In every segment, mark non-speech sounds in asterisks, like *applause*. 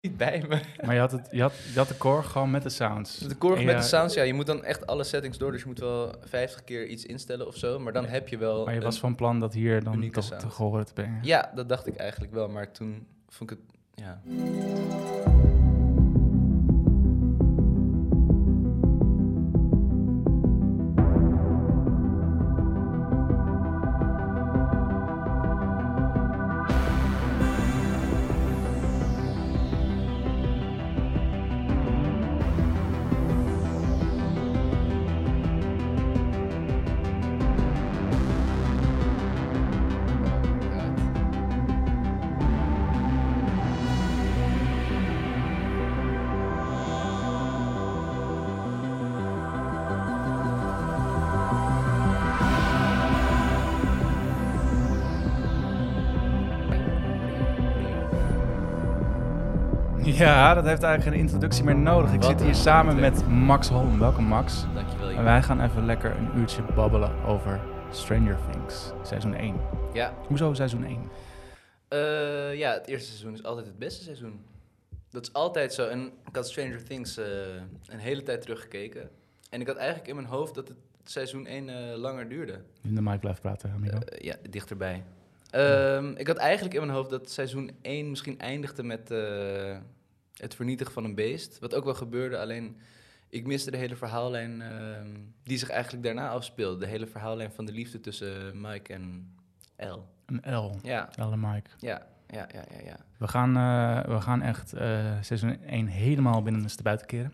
niet bij me. Maar je had, het, je, had, je had de core gewoon met de *laughs* sounds. De Korg En eh, met je- de sounds, ja, je moet dan echt alle settings door. Dus je moet wel 50 keer iets instellen of zo. Maar dan heb je wel. Maar je een- was van plan dat hier dan unieke toch sound. te horen te brengen. Ja, dat dacht ik eigenlijk wel. Maar toen vond ik het. Ja. Ja, dat heeft eigenlijk geen introductie meer nodig. Ik Wat zit hier een samen content. met Max Holm. Welkom Max. Dankjewel. En wij gaan even lekker een uurtje babbelen over Stranger Things, seizoen 1. Ja. Hoezo seizoen 1? Eh, ja, het eerste seizoen is altijd het beste seizoen. Dat is altijd zo. En ik had Stranger Things eh, een hele tijd teruggekeken. En ik had eigenlijk in mijn hoofd dat het seizoen 1 langer duurde. In de mic blijft praten, amigo. Eh, ja, dichterbij. Ehm, ik had eigenlijk in mijn hoofd dat seizoen 1 misschien eindigde met eh, het vernietigen van een beest. Wat ook wel gebeurde, alleen ik miste de hele verhaallijn ehm, die zich eigenlijk daarna afspeelde. De hele verhaallijn van de liefde tussen Mike en Elle. Een L. Ja, L en Mike. ja, ja, ja, ja. ja. We gaan, eh, we gaan echt eh, seizoen 1 helemaal binnen de buiten keren.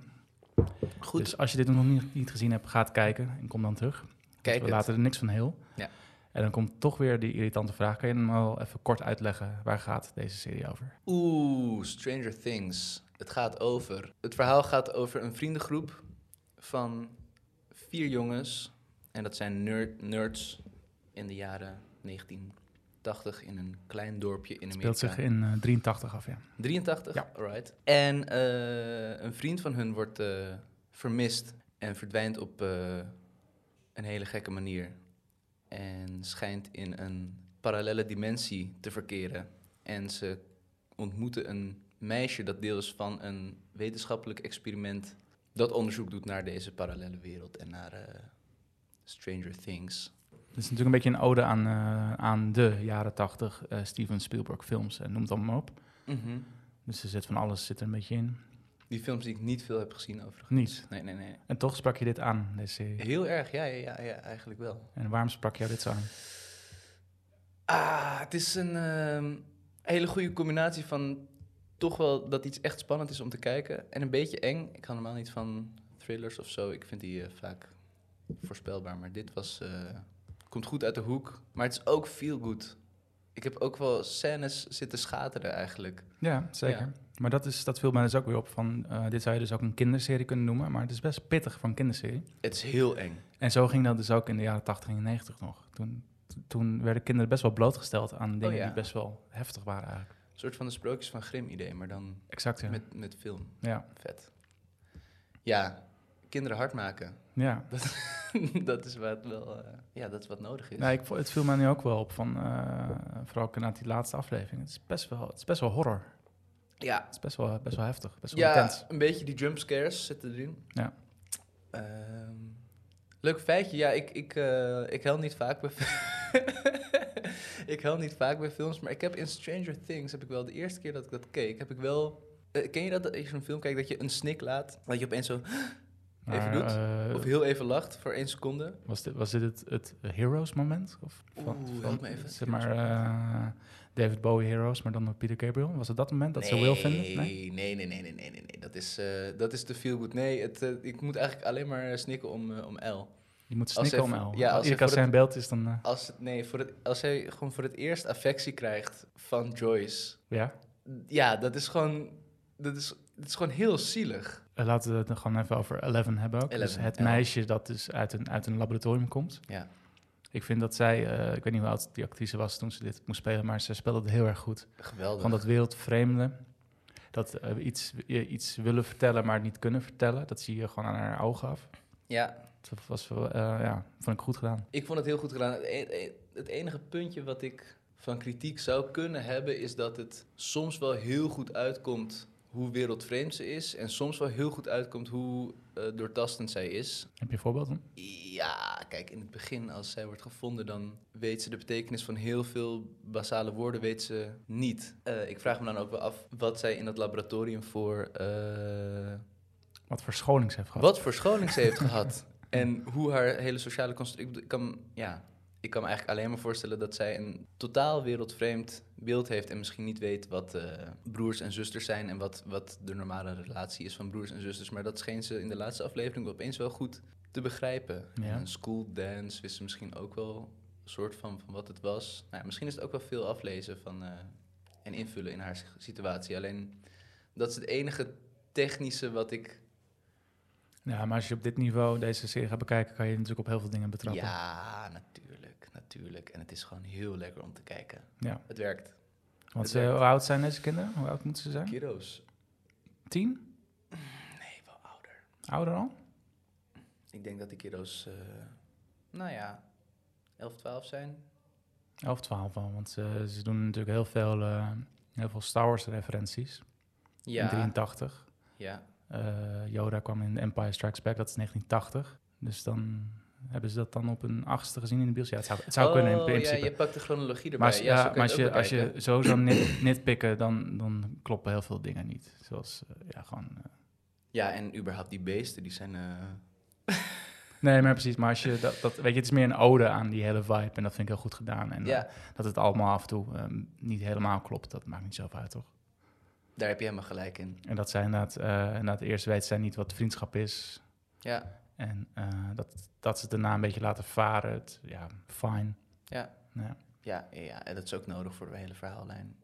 Goed, Dus als je dit nog niet, niet gezien hebt, ga het kijken en kom dan terug. Want kijk Dus we het. laten er niks van heel. Ja. En dan komt toch weer die irritante vraag. Kan je hem wel even kort uitleggen? Waar gaat deze serie over? Oeh, Stranger Things. Het gaat over. Het verhaal gaat over een vriendengroep van vier jongens. En dat zijn nerd, nerds in de jaren 1980 in een klein dorpje in Het Amerika. speelt zich in eh, 83 af, ja. 83? Ja. Alright. En eh, een vriend van hun wordt eh, vermist en verdwijnt op eh, een hele gekke manier. En schijnt in een parallele dimensie te verkeren. En ze ontmoeten een meisje dat deel is van een wetenschappelijk experiment dat onderzoek doet naar deze parallele wereld en naar eh, Stranger Things. Het is natuurlijk een beetje een ode aan, eh, aan de jaren 80 eh, Steven Spielberg films. En noem het allemaal maar op. Dus er zit van alles zit er een beetje in. Die films die ik niet veel heb gezien overigens. Niet. Nee, nee, nee. En toch sprak je dit aan, deze serie. Heel erg, ja, ja, ja, ja eigenlijk wel. En waarom sprak jou dit zo aan? Ah, het is een ehm, hele goede combinatie van toch wel dat iets echt spannend is om te kijken en een beetje eng. Ik hou normaal niet van thrillers of zo. Ik vind die eh, vaak voorspelbaar, maar dit was eh, komt goed uit de hoek. Maar het is ook feel good. Ik heb ook wel scènes zitten schateren eigenlijk. Ja, zeker. Ja. Maar dat, is, dat viel mij dus ook weer op van... eh, dit zou je dus ook een kinderserie kunnen noemen. Maar het is best pittig voor een kinderserie. Het is heel eng. En zo ging dat dus ook in de jaren 80 en 90 nog. Toen, toen werden kinderen best wel blootgesteld aan dingen Oh ja. die best wel heftig waren eigenlijk. Een soort van de sprookjes van Grim idee, maar dan Exact, ja. met, met film. Ja. Vet. Ja, kinderen hard maken. *laughs* ja. dat is wat wel, eh, ja, dat is wat nodig is. Nee, ik, vo- het viel mij nu ook wel op, van, eh, vooral ook na die laatste aflevering. Het is best wel, het is best wel horror. Ja, Het is best wel, best wel heftig, best wel Ja, intens. een beetje die jumpscares zitten erin. Ja. Ehm, leuk feitje. Ja, ik, ik, eh, ik hel niet vaak bij fi- *laughs* Ik hel niet vaak bij films, maar ik heb in Stranger Things heb ik wel de eerste keer dat ik dat keek, heb ik wel. eh, ken je dat als je een film kijkt dat je een snik laat, dat je opeens zo Even doet? eh, of heel even lacht voor één seconde? was, dit, was dit het, het Heroes moment? Of Oeh, help me even. Zeg maar eh, David Bowie Heroes, maar dan door Peter Gabriel. Was het dat moment dat ze Will vinden? Nee. Nee, nee, nee, nee, nee, nee, nee, nee. Dat is, eh, dat is te veel goed. Nee, het, eh, ik moet eigenlijk alleen maar snikken om, eh, om L. Je moet Als snikken om hij- El. ja, als Iedere hij keer als voor zijn beeld is, dan... eh, Als, het, nee, voor het, als hij gewoon voor het eerst affectie krijgt van Joyce. ja. Ja, dat is gewoon, dat is, dat is gewoon heel zielig. Eh, Laten we het nog gewoon even over Eleven hebben ook. dus Eleven, het ja. meisje dat dus uit een, uit een laboratorium komt. Ja. Ik vind dat zij, eh, ik weet niet hoe oud die actrice was toen ze dit moest spelen, maar ze speelde het heel erg goed. Geweldig. Van dat wereldvreemde, dat eh, iets, je iets willen vertellen, maar niet kunnen vertellen. Dat zie je gewoon aan haar ogen af. Ja, Dat was wel, eh, ja, vond ik goed gedaan. ik vond het heel goed gedaan. Het e- e- Het enige puntje wat ik van kritiek zou kunnen hebben... is dat het soms wel heel goed uitkomt hoe wereldvreemd ze is. En soms wel heel goed uitkomt hoe eh, doortastend zij is. Heb je een voorbeeld dan? Ja, kijk, in het begin als zij wordt gevonden, dan weet ze de betekenis van heel veel basale woorden weet ze niet. Eh, ik vraag me dan ook wel af wat zij in dat laboratorium voor eh, Wat voor scholing ze heeft gehad? wat voor scholing ze heeft gehad. *laughs* En hoe haar hele sociale constructie. Ik, bedoel, ik kan, ja, ik kan me eigenlijk alleen maar voorstellen dat zij een totaal wereldvreemd beeld heeft. En misschien niet weet wat eh, broers en zusters zijn. En wat, wat de normale relatie is van broers en zusters. Maar dat scheen ze in de laatste aflevering opeens wel goed te begrijpen. Ja. En een school dance wist ze misschien ook wel een soort van, van wat het was. Nou, ja, misschien is het ook wel veel aflezen van, eh, en invullen in haar situatie. Alleen dat is het enige technische wat ik Ja, maar als je op dit niveau deze serie gaat bekijken, kan je natuurlijk op heel veel dingen betrappen. Ja, natuurlijk, natuurlijk. En het is gewoon heel lekker om te kijken. Ja. Het werkt. Want het ze, werkt. hoe oud zijn deze kinderen? Hoe oud moeten ze zijn? Kiro's. Tien? Nee, wel ouder. Ouder al? Ik denk dat de kiro's, eh, nou ja, 11, 12 zijn. 11, 12 al. Want ze, ze doen natuurlijk heel veel, eh, heel veel Star Wars referenties. In Ja, 83. ja. Eh, Yoda kwam in Empire Strikes Back, dat is 1980. Dus dan hebben ze dat dan op een achtste gezien in de bios. Ja, het zou, het zou kunnen in Oh, principe. Ja, je pakt de chronologie erbij. Maar als, ja, ja, zo kan maar als, je, je, het ook als je bekijken. zo zou nit, nitpikken, dan, dan kloppen heel veel dingen niet. Zoals, eh, ja, gewoon... eh, Ja, en überhaupt die beesten, die zijn... eh, Nee, maar precies. Maar als je dat, dat... Weet je, het is meer een ode aan die hele vibe. En dat vind ik heel goed gedaan. En eh, ja, dat het allemaal af en toe eh, niet helemaal klopt, dat maakt niet zoveel uit, toch? daar heb je helemaal gelijk in. En dat zij inderdaad, eh, inderdaad eerst weet zij niet wat vriendschap is. Ja, En eh, dat, dat ze het daarna een beetje laten varen. Het, ja, fine. ja, ja, en dat is ook nodig voor de hele verhaallijn.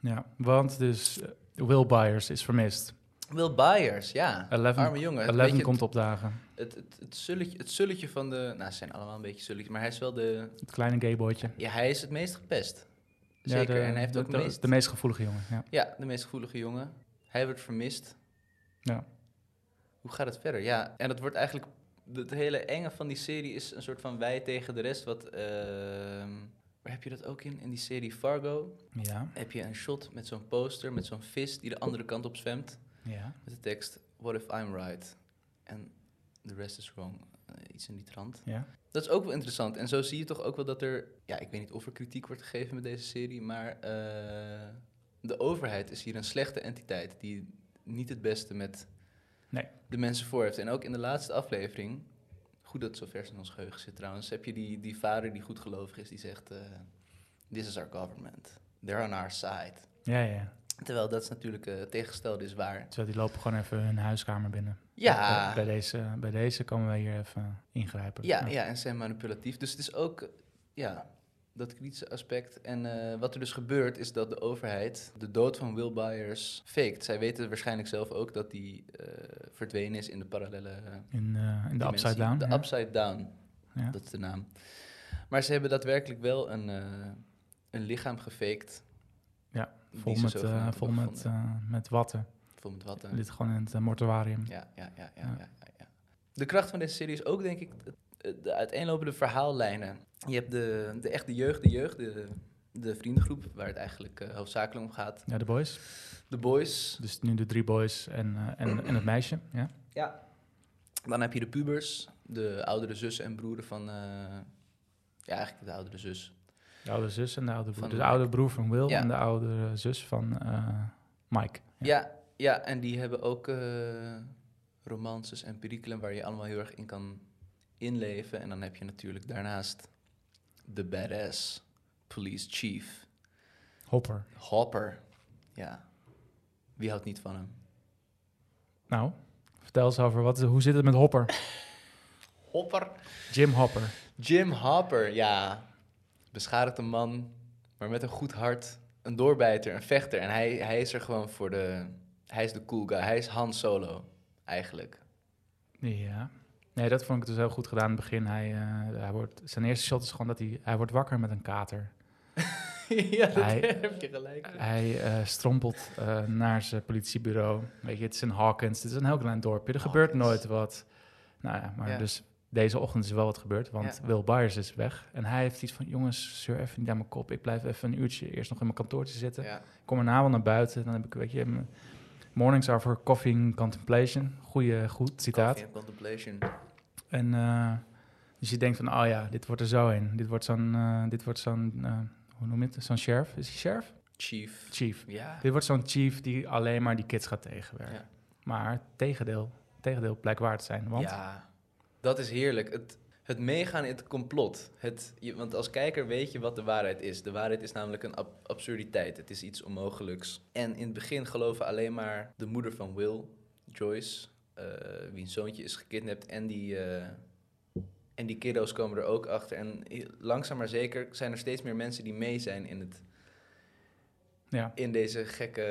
Ja, want dus eh, Will Byers is vermist. Will Byers, ja. Arme Eleven, jongen. een Eleven beetje komt opdagen. Het, het, het, sulletje, het sulletje van de... Nou, ze zijn allemaal een beetje sulletjes, maar hij is wel de... Het kleine gayboytje. Ja, hij is het meest gepest. Ja, Zeker, de- en hij heeft de, ook de, de meest... de meest gevoelige jongen, ja. Ja, de meest gevoelige jongen. Hij wordt vermist. Ja. Hoe gaat het verder? Ja, en dat wordt eigenlijk... Het hele enge van die serie is een soort van wij tegen de rest. Wat, ehm, waar heb je dat ook in? In die serie Fargo Ja, heb je een shot met zo'n poster, met zo'n vis die de andere kant op zwemt. ja. Met de tekst, what if I'm right? And the rest is wrong. Eh, iets in die trant. ja. Dat is ook wel interessant. En zo zie je toch ook wel dat er... Ja, ik weet niet of er kritiek wordt gegeven met deze serie... maar eh, de overheid is hier een slechte entiteit... die niet het beste met Nee. de mensen voor heeft. En ook in de laatste aflevering... Goed dat het zo vers in ons geheugen zit trouwens... heb je die, die vader die goedgelovig is, die zegt... eh, This is our government. They're on our side. Ja, ja, ja. Terwijl dat is natuurlijk eh, het tegengestelde is waar. Terwijl die lopen gewoon even hun huiskamer binnen. Ja, Bij, bij deze, bij deze komen wij hier even ingrijpen. Ja, ja, en zijn manipulatief. Dus het is ook eh, ja, dat kritische aspect. En eh, wat er dus gebeurt is dat de overheid de dood van Will Byers faked. Zij weten waarschijnlijk zelf ook dat die eh, verdwenen is in de parallele... eh, In, eh, in de dimensie. Upside Down. De ja. Upside Down, Ja. dat is de naam. Maar ze hebben daadwerkelijk wel een, eh, een lichaam gefaked. Ja, die vol ze met, zogenaamd eh, hebben vol met, gevonden. eh, met watten. Vol met wat Dit gewoon in het eh, mortuarium. Ja, ja, ja, ja, Ja. ja. ja, ja. De kracht van deze serie is ook, denk ik, de, de uiteenlopende verhaallijnen. Je hebt de, de echte jeugd, de jeugd, de, de vriendengroep, waar het eigenlijk eh, hoofdzakelijk om gaat. Ja, de boys. De boys. Dus nu de drie boys en, eh, en, en het meisje. Ja. Ja. Dan heb je de pubers, de oudere zussen en broeren van... eh, ja, eigenlijk de oudere zus. De oude zus en de oude broer. Van dus de Mike. oude broer van Will Ja. en de oude zus van eh, Mike. Ja, ja, en die hebben ook eh, romances en perikelen waar je allemaal heel erg in kan inleven. En dan heb je natuurlijk daarnaast de badass police chief... Hopper. Hopper. Ja. Wie houdt niet van hem? Nou, vertel eens over, wat, hoe zit het met Hopper? Hopper? Jim Hopper. Jim Hopper, ja. Beschadigde man, maar met een goed hart. Een doorbijter, een vechter. En hij, hij is er gewoon voor de... Hij is de cool guy. Hij is Han Solo, eigenlijk. *laughs* Ja. Nee, dat vond ik dus heel goed gedaan in het begin. Hij, eh, hij wordt, zijn eerste shot is gewoon dat hij, hij wordt wakker met een kater. ja, dat Hij- heb je gelijk. Hij eh, strompelt eh, naar zijn politiebureau. Weet je, het is in Hawkins, het is een heel klein dorpje. Er gebeurt Hawkins. nooit wat. Nou ja, maar Ja. dus deze ochtend is er wel wat gebeurd, want Ja. Will Byers is weg. En hij heeft iets van, jongens, zeur even niet aan mijn kop. Ik blijf even een uurtje eerst nog in mijn kantoortje zitten. ja. Ik kom erna wel naar buiten, dan heb ik, weet je, mijn, Mornings are for coffee and contemplation. Goeie, goed citaat. Coffee and Contemplation. En eh, dus je denkt van, oh ja, dit wordt er zo een. Dit wordt zo'n, eh, dit wordt zo'n, eh, hoe noem je het? Zo'n sheriff? Is hij sheriff? Chief. Chief. Ja. Dit wordt zo'n chief die alleen maar die kids gaat tegenwerken. Ja. Maar het tegendeel, het tegendeel blijkt waar te zijn. Want Ja, dat is heerlijk. Het, het meegaan in het complot. Het, je, want als kijker weet je wat de waarheid is. De waarheid is namelijk een ab- absurditeit. Het is iets onmogelijks. En in het begin geloven alleen maar de moeder van Will, Joyce, eh, wie een zoontje is gekidnapt. En die, eh, en die kiddo's komen er ook achter. En heel- langzaam maar zeker zijn er steeds meer mensen die mee zijn in, het, ja, in deze gekke,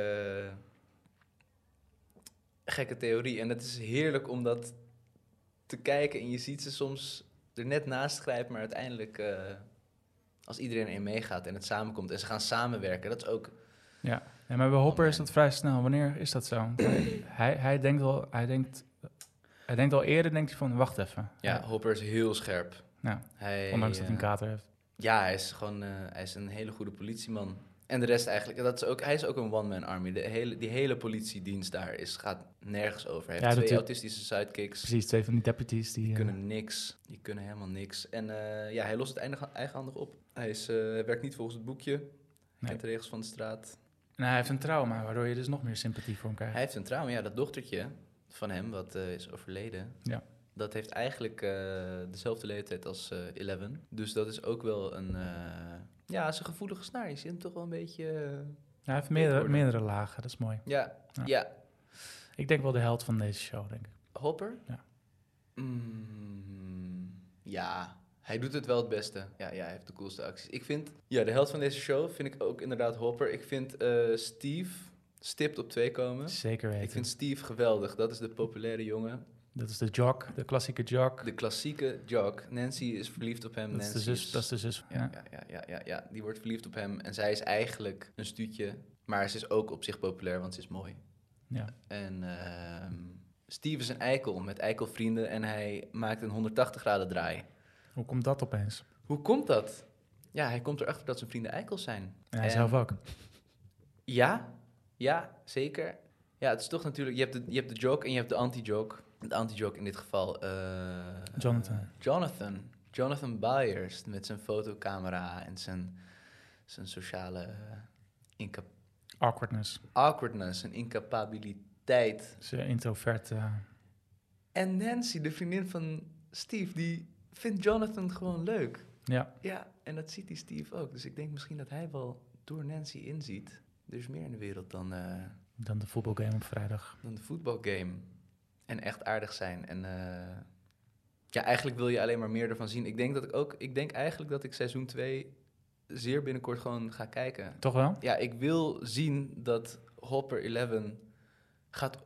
gekke theorie. En het is heerlijk om dat te kijken. En je ziet ze soms er net naast grijpen, maar uiteindelijk eh, als iedereen erin meegaat en het samenkomt en ze gaan samenwerken, dat is ook. Ja, maar bij Oh, Hopper is dat vrij snel. Wanneer is dat zo? *clears throat* Want hij, hij, hij denkt al, hij denkt, hij denkt al eerder, denkt hij van, wacht even. Ja, eh, Hopper is heel scherp. Ja, Hij, Ondanks dat hij eh, een kater heeft. Ja, hij is gewoon eh, hij is een hele goede politieman. En de rest eigenlijk, en dat is ook, hij is ook een one-man army. De hele, die hele politiedienst daar is, gaat nergens over. Hij Ja, heeft dat twee is- autistische sidekicks. Precies, twee van die deputies die... Die eh, kunnen niks. Die kunnen helemaal niks. En eh, ja, hij lost het eindig- eigenhandig op. Hij is, eh, hij werkt niet volgens het boekje. Hij Nee. kent de regels van de straat. en hij heeft een trauma, waardoor je dus nog meer sympathie voor hem krijgt. Hij heeft een trauma. Ja, dat dochtertje van hem, wat eh, is overleden. Ja. Dat heeft eigenlijk eh, dezelfde leeftijd als eh Eleven. Dus dat is ook wel een... eh, ja, is een gevoelige snaar. Je ziet hem toch wel een beetje... eh, Hij heeft meerdere, worden. meerdere lagen, dat is mooi. ja, Ja. ja, Ik denk wel de held van deze show, denk ik. Hopper? Ja. Mm, ja, hij doet het wel het beste. Ja, ja, hij heeft de coolste acties. Ik vind, ja, de helft van deze show vind ik ook inderdaad Hopper. Ik vind eh, Steve stipt op twee komen. Zeker weten. Ik vind Steve geweldig. Dat is de populaire jongen. Dat is de jock, de klassieke jock. De klassieke jock. Nancy is verliefd op hem. dat, is Nancy de zus, dat is de zus. Ja. Ja, ja, ja, ja, ja, ja. Die wordt verliefd op hem. En zij is eigenlijk een stuutje. Maar ze is ook op zich populair, want ze is mooi. Ja. En ehm, Steve is een eikel met eikelvrienden. En hij maakt een 180 graden draai. Hoe komt dat opeens? Hoe komt dat? Ja, hij komt erachter dat zijn vrienden eikels zijn. En hij En- zelf ook. Ja, ja, zeker. Ja, het is toch natuurlijk... Je hebt de, je hebt de joke en je hebt de anti-joke. De anti-joke in dit geval... eh, Jonathan. Jonathan. Jonathan Byers met zijn fotocamera en zijn, zijn sociale eh, inca- Awkwardness. awkwardness en incapabiliteit. Ze introvert. eh, En Nancy, de vriendin van Steve, die vindt Jonathan gewoon leuk. ja, Ja, en dat ziet die Steve ook. Dus ik denk misschien dat hij wel door Nancy inziet. Er is meer in de wereld dan, eh, dan de voetbalgame op vrijdag. dan de voetbalgame. En echt aardig zijn. En eh, ja, eigenlijk wil je alleen maar meer ervan zien. Ik denk, dat ik, ook, ik denk eigenlijk dat ik seizoen 2 zeer binnenkort gewoon ga kijken. Toch wel? Ja, ik wil zien dat Hopper 11 gaat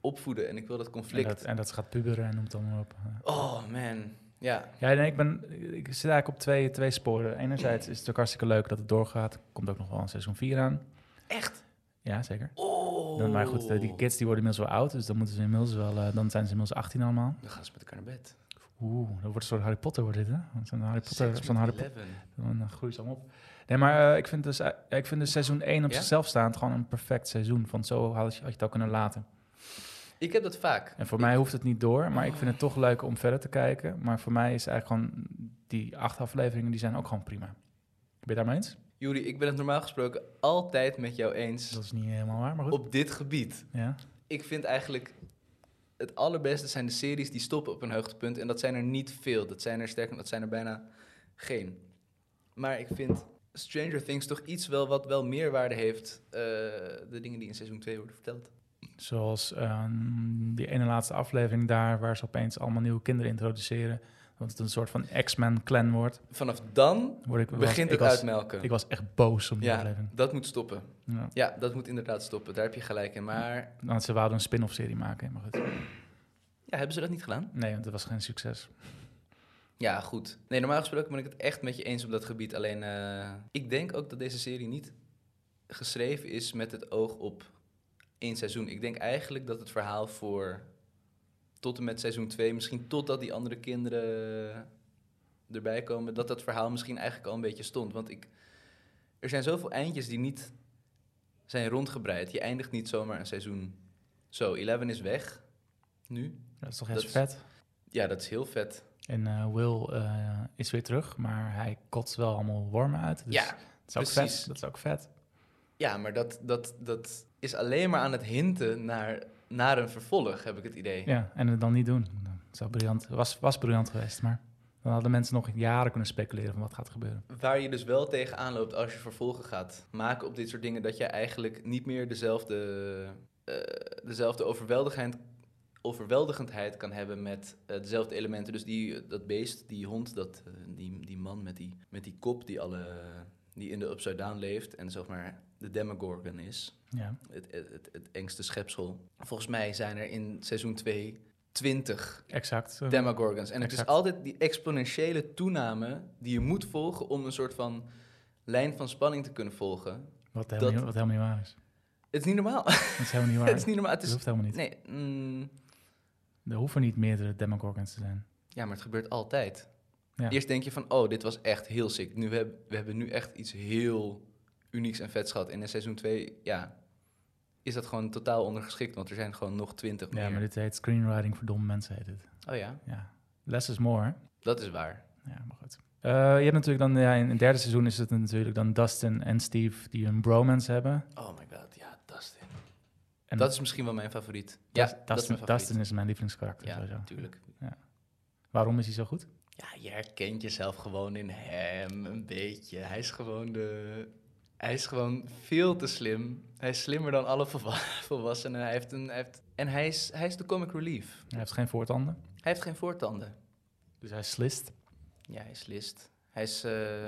opvoeden. En ik wil dat En conflict. dat, en dat gaat puberen en noemt allemaal op. eh. Oh man, ja. Ja, nee, ik, ben, ik zit eigenlijk op twee, twee sporen. Enerzijds is het ook hartstikke leuk dat het doorgaat. Komt ook nog wel een seizoen 4 aan. Echt? Ja, zeker. Oh. Dan, maar goed, eh, die kids die worden inmiddels wel oud. Dus dan, moeten ze inmiddels wel, eh, dan zijn ze inmiddels 18 allemaal. Dan gaan ze met elkaar naar bed. Oeh, dat wordt een soort Harry Potter wordt dit, hè? Want Zo'n Harry Potter, Seks zo'n met Harry Potter, 11. dan eh, groeit ze allemaal op. Nee, maar eh, ik, vind dus, eh, ik vind dus seizoen 1 op Ja? zichzelf staand gewoon een perfect seizoen. Want zo had je, had je het al kunnen laten. Ik heb dat vaak. En voor mij hoeft het niet door, maar ik vind het toch leuk om verder te kijken. Maar voor mij is eigenlijk gewoon, die acht afleveringen, die zijn ook gewoon prima. Ben je daarmee eens? Juri, ik ben het normaal gesproken altijd met jou eens Dat is niet helemaal waar, maar goed. op dit gebied. Ja. Ik vind eigenlijk het allerbeste zijn de series die stoppen op een hoogtepunt. En dat zijn er niet veel. Dat zijn er sterker, dat zijn er bijna geen. Maar ik vind Stranger Things toch iets wel wat wel meerwaarde heeft. eh, de dingen die in seizoen 2 worden verteld. Zoals ehm, die ene laatste aflevering daar, waar ze opeens allemaal nieuwe kinderen introduceren. Want het een soort van X-Men-clan wordt. Vanaf dan Word ik, was- begint ik het was- uitmelken. Ik was echt boos om die ja, aflevering. dat moet stoppen. Ja. Ja, dat moet inderdaad stoppen. Daar heb je gelijk in. Maar Want ze wouden een spin-off serie maken, maar goed. ja, hebben ze dat niet gedaan? Nee, want het was geen succes. Ja, goed. Nee, normaal gesproken ben ik het echt met je eens op dat gebied. Alleen, eh, ik denk ook dat deze serie niet geschreven is met het oog op één seizoen. Ik denk eigenlijk dat het verhaal voor tot en met seizoen 2, misschien totdat die andere kinderen erbij komen, dat dat verhaal misschien eigenlijk al een beetje stond. Want ik, er zijn zoveel eindjes die niet zijn rondgebreid. Je eindigt niet zomaar een seizoen Zo, Eleven is weg. Nu. Dat is toch heel Dat is- vet. Ja, dat is heel vet. En eh, Will eh, is weer terug, maar hij kotst wel allemaal wormen uit. Dus ja, dat is ook precies. vet. Dat is ook vet. ja, maar dat, dat, dat is alleen maar aan het hinten naar, naar een vervolg, heb ik het idee. Ja, en het dan niet doen. Nou, Het zou briljant, was, was briljant geweest, maar dan hadden mensen nog jaren kunnen speculeren van wat gaat gebeuren. Waar je dus wel tegenaan loopt als je vervolgen gaat maken op dit soort dingen, dat je eigenlijk niet meer dezelfde, eh, dezelfde overweldigend, overweldigendheid kan hebben met eh, dezelfde elementen. Dus die, dat beest, die hond, dat, eh, die, die man met die, met die kop die, alle, die in de Upside Down leeft en zeg maar de Demogorgon is. Ja. Het, het, het, het engste schepsel. Volgens mij zijn er in seizoen 2 20 Exact. eh, Demogorgons. En het is Exact. altijd die exponentiële toename die je moet volgen om een soort van lijn van spanning te kunnen volgen. wat, helemaal dat- niet, wat helemaal niet waar is. Het is niet normaal. *laughs* Dat is helemaal niet waar. het is niet normaal. Het Dat is, hoeft helemaal niet. nee, mm, Er hoeven niet meerdere Demogorgons te zijn. ja, maar het gebeurt altijd. Ja. Eerst denk je van, oh, dit was echt heel sick. Nu, we, hebben, we hebben nu echt iets heel unieks en vets gehad. En in seizoen 2, ja, is dat gewoon totaal ondergeschikt. Want er zijn gewoon nog 20 meer. Ja, maar dit heet screenwriting voor domme mensen, heet het. Oh ja, Ja. Less is more. dat is waar. Ja, maar goed. Eh, je hebt natuurlijk dan, ja, in in het derde seizoen is het natuurlijk dan Dustin en Steve die een bromance hebben. Oh my god, ja, Dustin. En dat is misschien wel mijn favoriet. ja, dat is Dus Dustin, mijn favoriet. Dustin is mijn lievelingskarakter. ja, sowieso. natuurlijk. Waarom is hij zo goed? Ja, je herkent jezelf gewoon in hem een beetje. Hij is gewoon de... Hij is gewoon veel te slim. Hij is slimmer dan alle volwa- *laughs* volwassenen. Hij heeft een, hij heeft, en hij is, hij is de comic relief. Hij heeft geen voortanden, Hij heeft geen voortanden. dus hij slist. Ja, hij is list. Hij is... eh,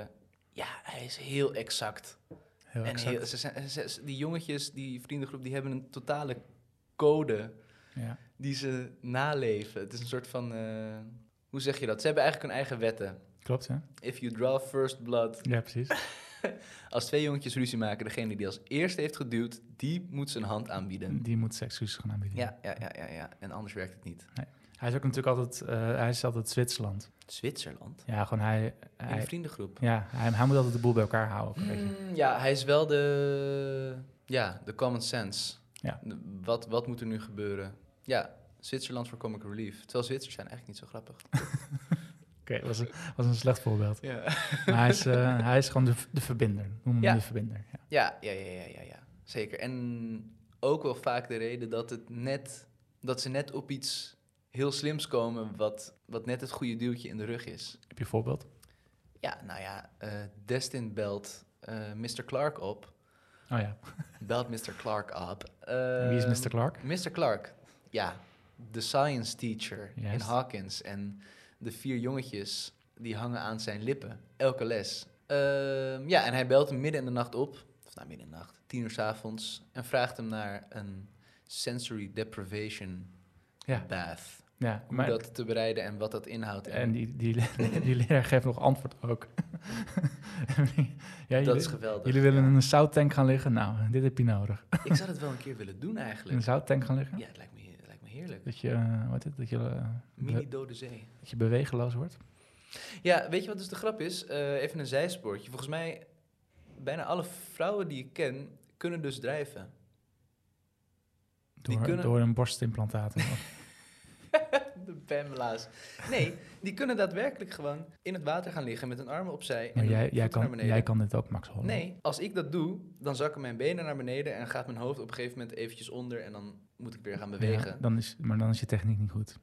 ja, hij is heel exact. Heel en exact. heel, ze zijn, ze- ze- die jongetjes, die vriendengroep, die hebben een totale code Ja. die ze naleven. Het is een soort van... eh, hoe zeg je dat? Ze hebben eigenlijk hun eigen wetten. Klopt, hè? If you draw first blood, Ja, precies. Als twee jongetjes ruzie maken, degene die als eerste heeft geduwd, die moet zijn hand aanbieden. Die moet seksuus gaan aanbieden. Ja, ja, ja, ja, ja. En anders werkt het niet. Hij is ook natuurlijk altijd, eh, hij is altijd Zwitserland. Zwitserland? Ja, gewoon hij, In de hij, Oh, vriendengroep. ja, hij, hij moet altijd de boel bij elkaar houden. ook, Weet je. Mm, ja, hij is wel de, ja, de common sense. Ja. De- wat, wat moet er nu gebeuren? Ja, Zwitserland voor comic relief. Terwijl Zwitsers zijn eigenlijk niet zo grappig. Oké, dat was, een- was een slecht voorbeeld. Ja, Maar hij *laughs* is, eh, hij is gewoon de, de verbinder. Noem hem Ja. de verbinder. Ja. ja, ja, ja, ja, ja, ja. Zeker. En ook wel vaak de reden dat, het net, dat ze net op iets heel slims komen wat, wat net het goede duwtje in de rug is. Heb je een voorbeeld? Ja, nou ja, eh, Destin belt eh, Mr. Clark op. Oh ja. Belt Mr. Clark op. En Wie is Ehm, Mr. Clark? Mr. Clark, ja, de science teacher in Juist. Hawkins. En de vier jongetjes die hangen aan zijn lippen, elke les. Ehm, ja, en hij belt hem midden in de nacht op, of nou midden in de nacht, tien uur s avonds, en vraagt hem naar een sensory deprivation Ja. bath. Ja, Hoe maar, dat te bereiden en wat dat inhoudt. en die, die, *laughs* die leraar geeft nog antwoord ook. *laughs* dat ja, jullie, is geweldig. jullie willen ja. in een zouttank gaan liggen? Nou, dit heb je nodig. Ik zou dat wel een keer willen doen In een eigenlijk. zouttank gaan liggen? Ja, het lijkt me, het lijkt me heerlijk. Dat je, eh, wat is het? Dat je, eh, Mini dode zee. dat je bewegeloos wordt? Ja, weet je wat dus de grap is? Eh, even een zijspoortje. Volgens mij, bijna alle vrouwen die ik ken, kunnen dus drijven. *laughs* Die Door, kunnen- door een *laughs* borstimplantaat. of- De Pamela's. Nee, die kunnen daadwerkelijk gewoon in het water gaan liggen met hun armen opzij. en maar hun jij, jij, voeten naar kan, beneden. jij kan dit ook, Max Holland. Nee, als ik dat doe, dan zakken mijn benen naar beneden en gaat mijn hoofd op een gegeven moment eventjes onder en dan moet ik weer gaan bewegen. Ja, dan is, maar dan is je techniek niet goed.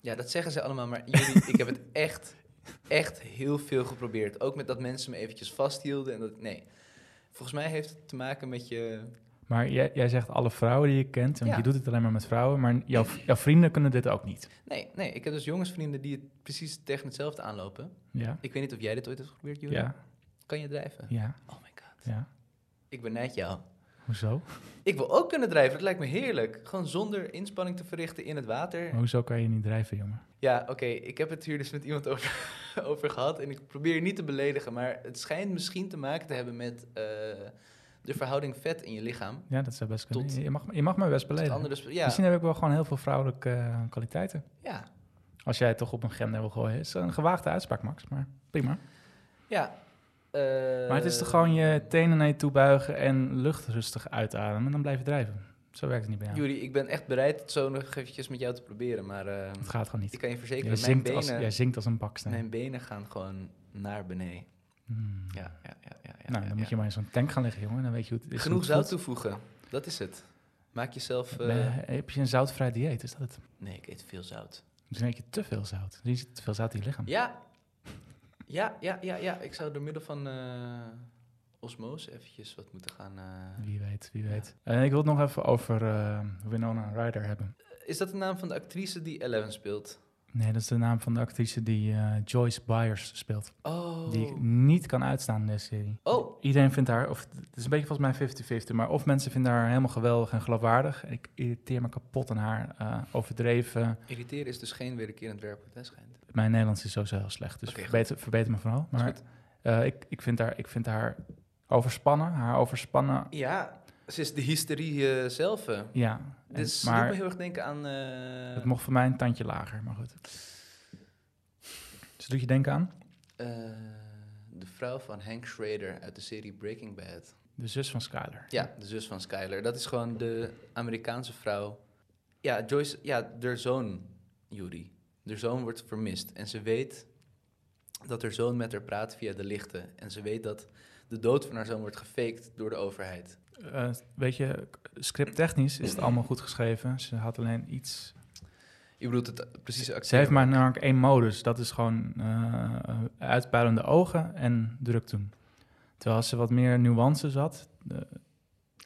Ja, dat zeggen ze allemaal, maar jullie, ik heb het echt, echt heel veel geprobeerd. Ook met dat mensen me eventjes vasthielden en dat, nee. Volgens mij heeft het te maken met je... Maar jij, jij zegt alle vrouwen die je kent, want Ja. je doet het alleen maar met vrouwen, maar jouw, jouw vrienden kunnen dit ook niet. Nee, nee, ik heb dus jongensvrienden die het precies tegen hetzelfde aanlopen. Ja, Ik weet niet of jij dit ooit hebt geprobeerd, Jure. ja, Kan je drijven? ja, Oh my god. ja. Ik benijd jou. Hoezo? Ik wil ook kunnen drijven, dat lijkt me heerlijk. Gewoon zonder inspanning te verrichten in het water. Maar hoezo kan je niet drijven, jongen? Ja, oké, ik heb het hier dus met iemand over, *laughs* over gehad en ik probeer je niet te beledigen, maar het schijnt misschien te maken te hebben met eh, de verhouding vet in je lichaam. Ja, dat zou best kunnen. Tot- je, mag, je mag mij best Het beledigen. andere sp- ja, Misschien heb ik wel gewoon heel veel vrouwelijke eh, kwaliteiten. ja, Als jij het toch op een gender wil gooien. is een gewaagde uitspraak, Max, maar prima. ja. eh, maar het is toch gewoon je tenen naar je toe buigen en lucht rustig uitademen. En dan blijf je drijven. Zo werkt het niet bij jou. Juri, ik ben echt bereid het zo nog eventjes met jou te proberen, maar eh, Het gaat gewoon ik niet. kan je verzekeren, Jij dat mijn zinkt, als, benen, jij zinkt als een baksteen. mijn benen gaan gewoon naar beneden. Hmm. Ja, ja, ja. ja, ja, nou, ja, dan ja. moet je maar in zo'n tank gaan liggen, jongen. Dan weet je hoe het is. Genoeg hoe zout het toevoegen, dat is het. Maak jezelf... voelt. eh, Eh, heb je een zoutvrij dieet? Is dat het? Nee, ik eet veel zout. Misschien heb je te veel zout. Er zit te veel zout in je lichaam. Ja, ja, ja, ja, ja. Ik zou door middel van eh, osmose eventjes wat moeten gaan... eh. Wie weet, wie weet. En ik wil het nog even over eh, Winona Ryder hebben. Is dat de naam van de actrice die Eleven speelt? Nee, dat is de naam van de actrice die eh, Joyce Byers speelt. Oh. Die ik niet kan uitstaan in deze serie. Oh, Iedereen vindt haar, of het is een beetje volgens mij 50-50, maar of mensen vinden haar helemaal geweldig en geloofwaardig. En ik irriteer me kapot aan haar. eh, overdreven. irriteren is dus geen wederkerend werkwoord, hè, schijnt. Mijn Nederlands is sowieso heel slecht, dus Oké, goed. verbeter, verbeter me vooral. Is Maar goed. eh, ik, ik, vind haar, ik vind haar overspannen, haar overspannen. Ja, ze is de hysterie eh, zelf. eh. Ja, En- Dus het doet maar me heel erg denken aan... eh, het mocht voor mij een tandje lager, maar goed. Dus doet je denken aan? eh, de vrouw van Hank Schrader uit de serie Breaking Bad. De zus van Skyler. Ja, de zus van Skyler. Dat is gewoon de Amerikaanse vrouw. Ja, Joyce, ja, haar zoon, Yuri. Haar zoon wordt vermist. En ze weet dat haar zoon met haar praat via de lichten. En ze weet dat de dood van haar zoon wordt gefaked door de overheid. Eh, weet je, scripttechnisch is het allemaal goed geschreven. Ze had alleen iets Je bedoelt het precieze acteur. Ze heeft maar namelijk één modus. Dat is gewoon eh uitpuilende ogen en druk doen. Terwijl als ze wat meer nuances had, eh,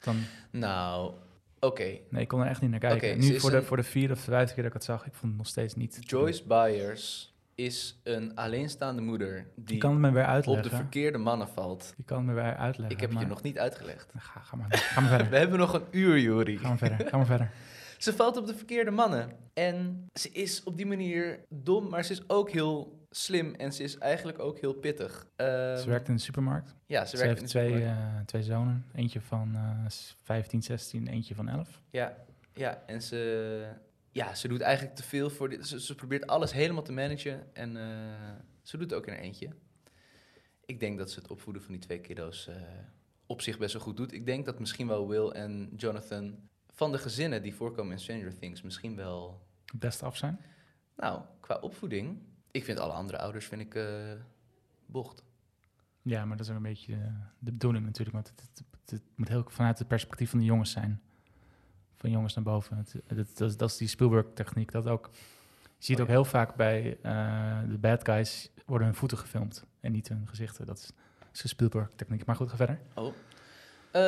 dan... Nou, oké. Nee, ik kon er echt niet naar kijken. Oké, ze nu is voor, de, een- voor de vierde of vijfde keer dat ik het zag, ik vond het nog steeds niet... Joyce Byers is een alleenstaande moeder Je die kan het me weer op de uitleggen. verkeerde mannen valt. Je kan het me weer Ik uitleggen. heb het je maar- nog niet uitgelegd. Ga, ga maar, ga maar verder. *laughs* We hebben nog een uur, Yuri. Ga maar verder, ga maar verder. Ze valt op de verkeerde mannen. En ze is op die manier dom, maar ze is ook heel slim en ze is eigenlijk ook heel pittig. *laughs* Ehm, Ze werkt in de supermarkt. Ja, ze, Ze, werkt heeft in de twee, supermarkt. eh, twee zonen. Eentje van eh, s- 15, 16, eentje van 11. Ja, ja, en ze, ja, ze doet eigenlijk te veel voor dit. Ze, ze probeert alles helemaal te managen en eh, ze doet het ook in haar eentje. Ik denk dat ze het opvoeden van die twee kiddo's eh, op zich best wel goed doet. Ik denk dat misschien wel Will en Jonathan van de gezinnen die voorkomen in Stranger Things misschien wel Het Best af zijn. Nou, qua opvoeding, ik vind alle andere ouders vind ik eh, bocht. Ja, maar dat is ook een beetje eh, de bedoeling natuurlijk. Want het, het- het- het moet heel vanuit het perspectief van de jongens zijn. Van jongens naar boven. Het, het- het- dat, is- dat is die Spielberg-techniek. Dat ook. Je ziet Oh, ook heel vaak bij eh, de bad guys worden hun voeten gefilmd en niet hun gezichten. Dat is, dat is de Spielberg-techniek. Maar goed, ga verder. Oh. Eh,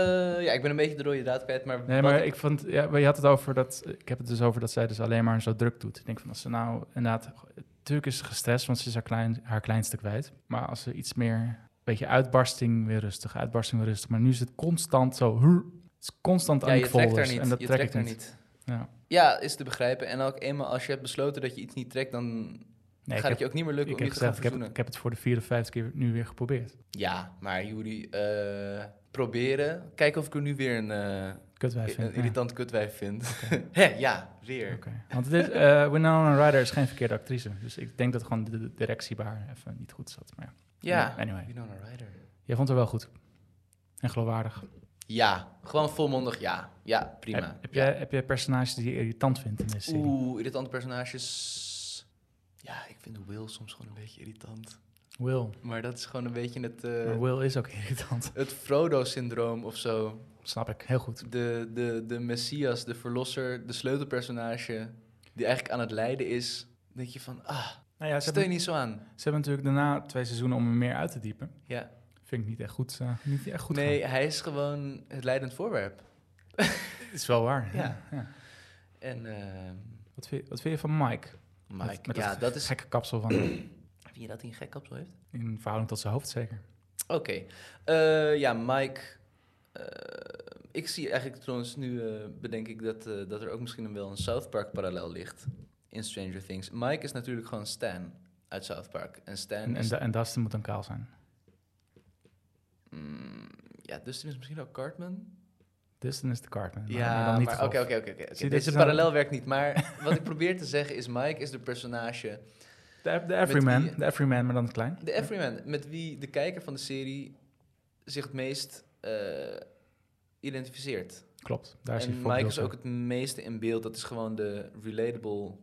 ja, ik ben een beetje de rode draad kwijt, maar... Nee, wat maar ik- ik vond, ja, maar je had het over dat, ik heb het dus over dat zij dus alleen maar zo druk doet. Ik denk van als ze nou inderdaad, natuurlijk is ze gestrest, want ze is haar, klein, haar kleinste kwijt. Maar als ze iets meer, een beetje uitbarsting weer rustig, uitbarsting weer rustig. Maar nu is het constant zo, "Huh." het is constant Ja, aan je die trekt daar folders niet. en dat je trek trekt ik daar niet. niet. Ja. Ja, is te begrijpen. En ook eenmaal als je hebt besloten dat je iets niet trekt, dan Nee, ik gaat heb, het je ook niet meer lukken ik om heb je te gaan gezegd, ik heb, verzoenen. het- ik heb het voor de vierde, vijfde keer nu weer geprobeerd. Ja, maar jullie eh, proberen. Kijken of ik er nu weer een, eh, Kutwijf een vind ik. ja. irritant kutwijf vind. *laughs* Hé, ja, weer. Oké. Want dit, eh Winona Ryder is geen verkeerde actrice. Dus ik denk dat gewoon de- de directie bij haar even niet goed zat. Maar ja, Ja, anyway. Winona Ryder. jij vond haar wel goed. En geloofwaardig. Ja, gewoon volmondig ja. Ja, prima. Heb, heb Ja. jij, heb jij personages die je irritant vindt in deze serie? Oeh, irritante personages. Ja, ik vind Will soms gewoon een beetje irritant. Will. Maar dat is gewoon een beetje het, eh, Maar Will is ook *laughs* irritant. het Frodo-syndroom of zo. Snap ik, heel goed. De, de, de messias, de verlosser, de sleutelpersonage die eigenlijk aan het lijden is. Dan denk je van, ah, Nou ja, ze, steun hebben, niet zo aan. ze hebben natuurlijk daarna twee seizoenen om hem meer uit te diepen. Ja. Vind ik niet echt goed. eh, niet echt goed nee, hij is gewoon het leidend voorwerp. gaan. is wel waar. Ja. ja. En ehm, Wat, vind je, wat vind je van Mike? Mike, Met- met ja, dat Het is... gekke kapsel van hem. Vind je dat hij een gek kapsel heeft? in verhouding tot zijn hoofd zeker. Oké. Eh, ja, Mike. eh, ik zie eigenlijk trouwens nu, eh, bedenk ik, dat, eh, dat er ook misschien wel een South Park parallel ligt in Stranger Things. Mike is natuurlijk gewoon Stan uit South Park. En Stan En, en, is... Da- en Dustin moet dan kaal zijn. Mm, ja, Dustin is misschien ook Cartman. Dustin is de Cartman. maar- maar ja, dan niet maar het oké, hoofd. oké, oké, oké. oké. Zie, dit Deze is parallel werkt niet, *laughs* maar wat ik probeer te zeggen is Mike is de personage De, de Everyman, wie- de Everyman, maar dan het klein. De Everyman, met wie de kijker van de serie zich het meest eh, identificeert. Klopt, daar is hij en voor. Mike is ook het meeste in beeld. Dat is gewoon de relatable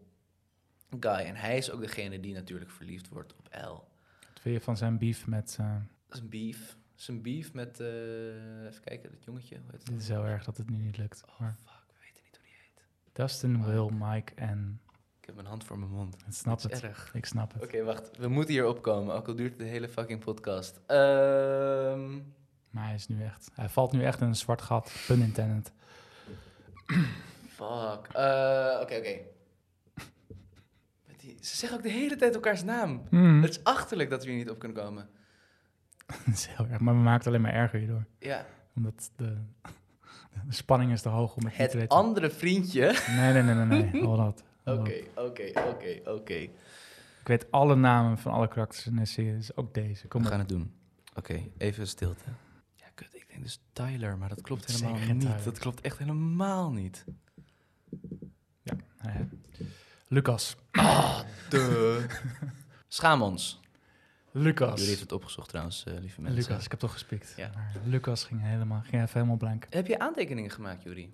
guy. En hij is ook degene die natuurlijk verliefd wordt op L. Wat vind je van zijn beef met... eh, Dat is een beef. Dat is een beef met, eh, even kijken, dat jongetje. Hoe heet het? dit is heel erg dat het nu niet lukt. Maar Fuck, we weten niet hoe die heet. Dustin, Will, Mike en... Ik heb mijn hand voor mijn mond. Ik snap Dat is het. erg. Ik snap het. Oké, wacht. We moeten hier opkomen, ook al duurt het de hele fucking podcast. Ehm, Maar hij is nu echt... Hij valt nu echt in een zwart gat. Pun intended. fuck. Eh, Oké, oké. Met die- Ze zeggen ook de hele tijd elkaars naam. Hmm. Het is achterlijk dat we hier niet op kunnen komen. *laughs* Dat is heel erg. Maar we maken het alleen maar erger hierdoor. Ja, Omdat de, *laughs* de spanning is te hoog om het, niet te het weten. andere vriendje. Nee, nee, nee, nee. *laughs* nee. Hold on. Hold on. Oké, oké, oké, oké. Ik weet alle namen van alle karakters in de serie. Dus ook deze. Kom We maar. gaan het doen. Oké, even stilte. Ja, kut. Ik denk dus Tyler, maar dat klopt Het is helemaal zeker niet. Tyler. Dat klopt echt helemaal niet. Ja, ja. Lucas. De. *laughs* Schaam ons. Jullie Lucas. hebben het opgezocht trouwens, eh, lieve mensen. Lucas, ik heb toch gespikt. Ja. Maar Lucas ging helemaal, ging even helemaal blank. Heb je aantekeningen gemaakt, Juri?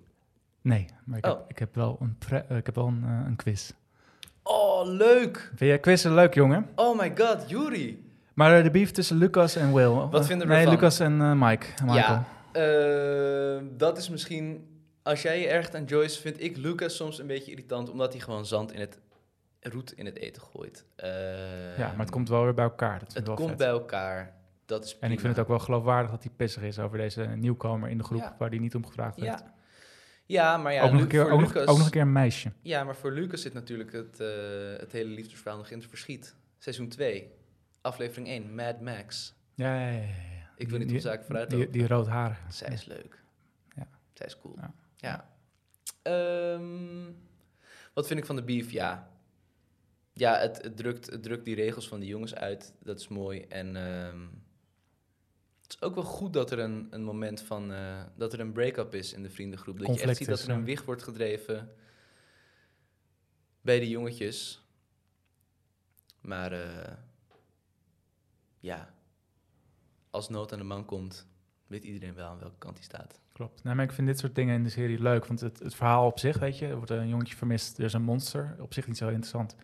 Nee, maar ik, Oh. heb, ik heb wel een, pre- eh, ik heb wel een, eh, een quiz. Oh, leuk! Vind je quizzen leuk, jongen? Oh my god, Juri! Maar eh, de beef tussen Lucas en Will. Wat vinden we Nee, ervan? Lucas en eh, Mike. en Michael. Ja, eh, dat is misschien... Als jij je ergt aan Joyce, vind ik Lucas soms een beetje irritant... omdat hij gewoon zand in het... roet in het eten gooit. Eh, ja, maar het komt wel weer bij elkaar. Dat vind Het ik wel komt vet. bij elkaar. Dat is En ik vind het ook wel geloofwaardig dat hij pissig is over deze nieuwkomer in de groep Ja. waar hij niet om gevraagd werd. Ja. Ja, maar ja, ook, nog een Lu- keer, voor ook, nog, Lucas, ook nog een keer een meisje. Ja, maar voor Lucas zit natuurlijk het, eh, het hele liefdesverhaal nog in het verschiet. Seizoen 2, aflevering 1, Mad Max. Ja, ja, ja. ja, ja. Ik wil niet Die- op zaken vooruit Die, lopen. die roodharige. Zij is leuk. Ja. Zij is cool. Ja. Ja. Ehm, wat vind ik van de beef? Ja. Ja, het, het, drukt, het drukt die regels van die jongens uit. Dat is mooi. En ehm, het is ook wel goed dat er een, een moment van... eh, dat er een break-up is in de vriendengroep. Dat je Conflict echt ziet is, dat er ja. een wicht wordt gedreven... bij de jongetjes. Maar eh, ja, als nood aan de man komt weet iedereen wel aan welke kant hij staat. Klopt. Nou, maar ik vind dit soort dingen in de serie leuk, want het, het verhaal op zich, weet je, er wordt een jongetje vermist, er is een monster, op zich niet zo interessant.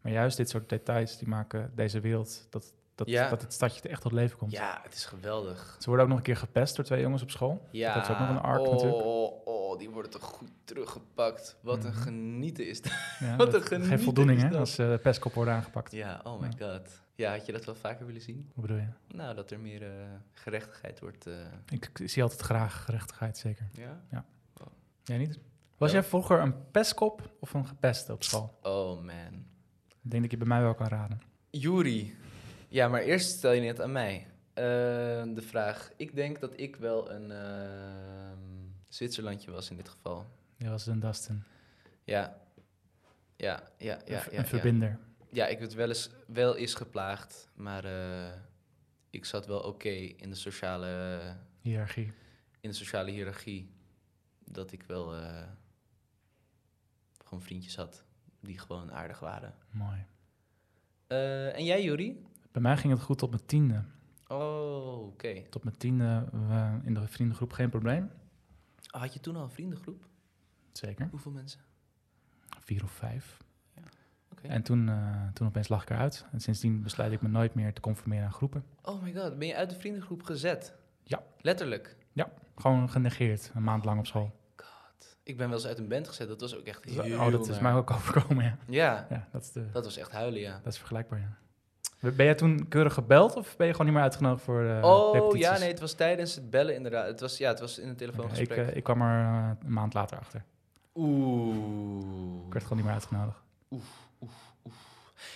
Maar juist dit soort details, die maken deze wereld, dat, dat, Ja. dat het stadje echt tot leven komt. Ja, het is geweldig. Ze worden ook nog een keer gepest door twee jongens op school. Ja, Dat is ook nog een arc oh, natuurlijk. Oh, oh, die worden toch goed teruggepakt. Wat een Mhm. genieten is dat. Ja, Wat dat een geeft genieten voldoening is hè, dat. als eh, de pestkop worden aangepakt. Ja, oh my god. Ja, had je dat wel vaker willen zien? Wat bedoel je? Nou, dat er meer eh, gerechtigheid wordt. eh, Ik, ik zie altijd graag gerechtigheid, zeker. ja? Jij niet? Was Ja. jij vroeger een pestkop of een gepeste op school? Oh man. Ik denk dat je bij mij wel kan raden. Juri. Ja, maar eerst stel je net aan mij eh, de vraag. Ik denk dat ik wel een ehm, Zwitserlandje was in dit geval. Je was een Dustin. Ja. Ja, ja, ja. een, ver- ja, een ja. verbinder. Ja, ik werd wel eens, wel eens geplaagd, maar eh, ik zat wel oké in, de sociale Hiërarchie. in de sociale hiërarchie. Dat ik wel eh, gewoon vriendjes had die gewoon aardig waren. Mooi. Eh, en jij, Juri? Bij mij ging het goed tot mijn tiende. Oh, oké. Tot mijn tiende eh, in de vriendengroep geen probleem. Oh, had je toen al een vriendengroep? Zeker. Hoeveel mensen? Vier of vijf. Oké. En toen, eh, toen opeens lag ik eruit. En sindsdien besluit ik me nooit meer te conformeren aan groepen. Oh my god, ben je uit de vriendengroep gezet? Ja. Letterlijk? Gewoon genegeerd, een maand lang op school. Ik ben wel eens uit een band gezet, dat was ook echt Dus, heel oh, dat is naar. mij ook overkomen, ja. Ja, Ja, dat is, de, dat was echt huilen, ja. dat is vergelijkbaar, ja. Ben jij toen keurig gebeld of ben je gewoon niet meer uitgenodigd voor eh oh repetities? ja, nee, het was tijdens het bellen inderdaad. Het was, ja, het was in een Oké, ik, telefoongesprek. eh, ik kwam er eh, een maand later achter. Oeh. Ik werd gewoon niet meer uitgenodigd.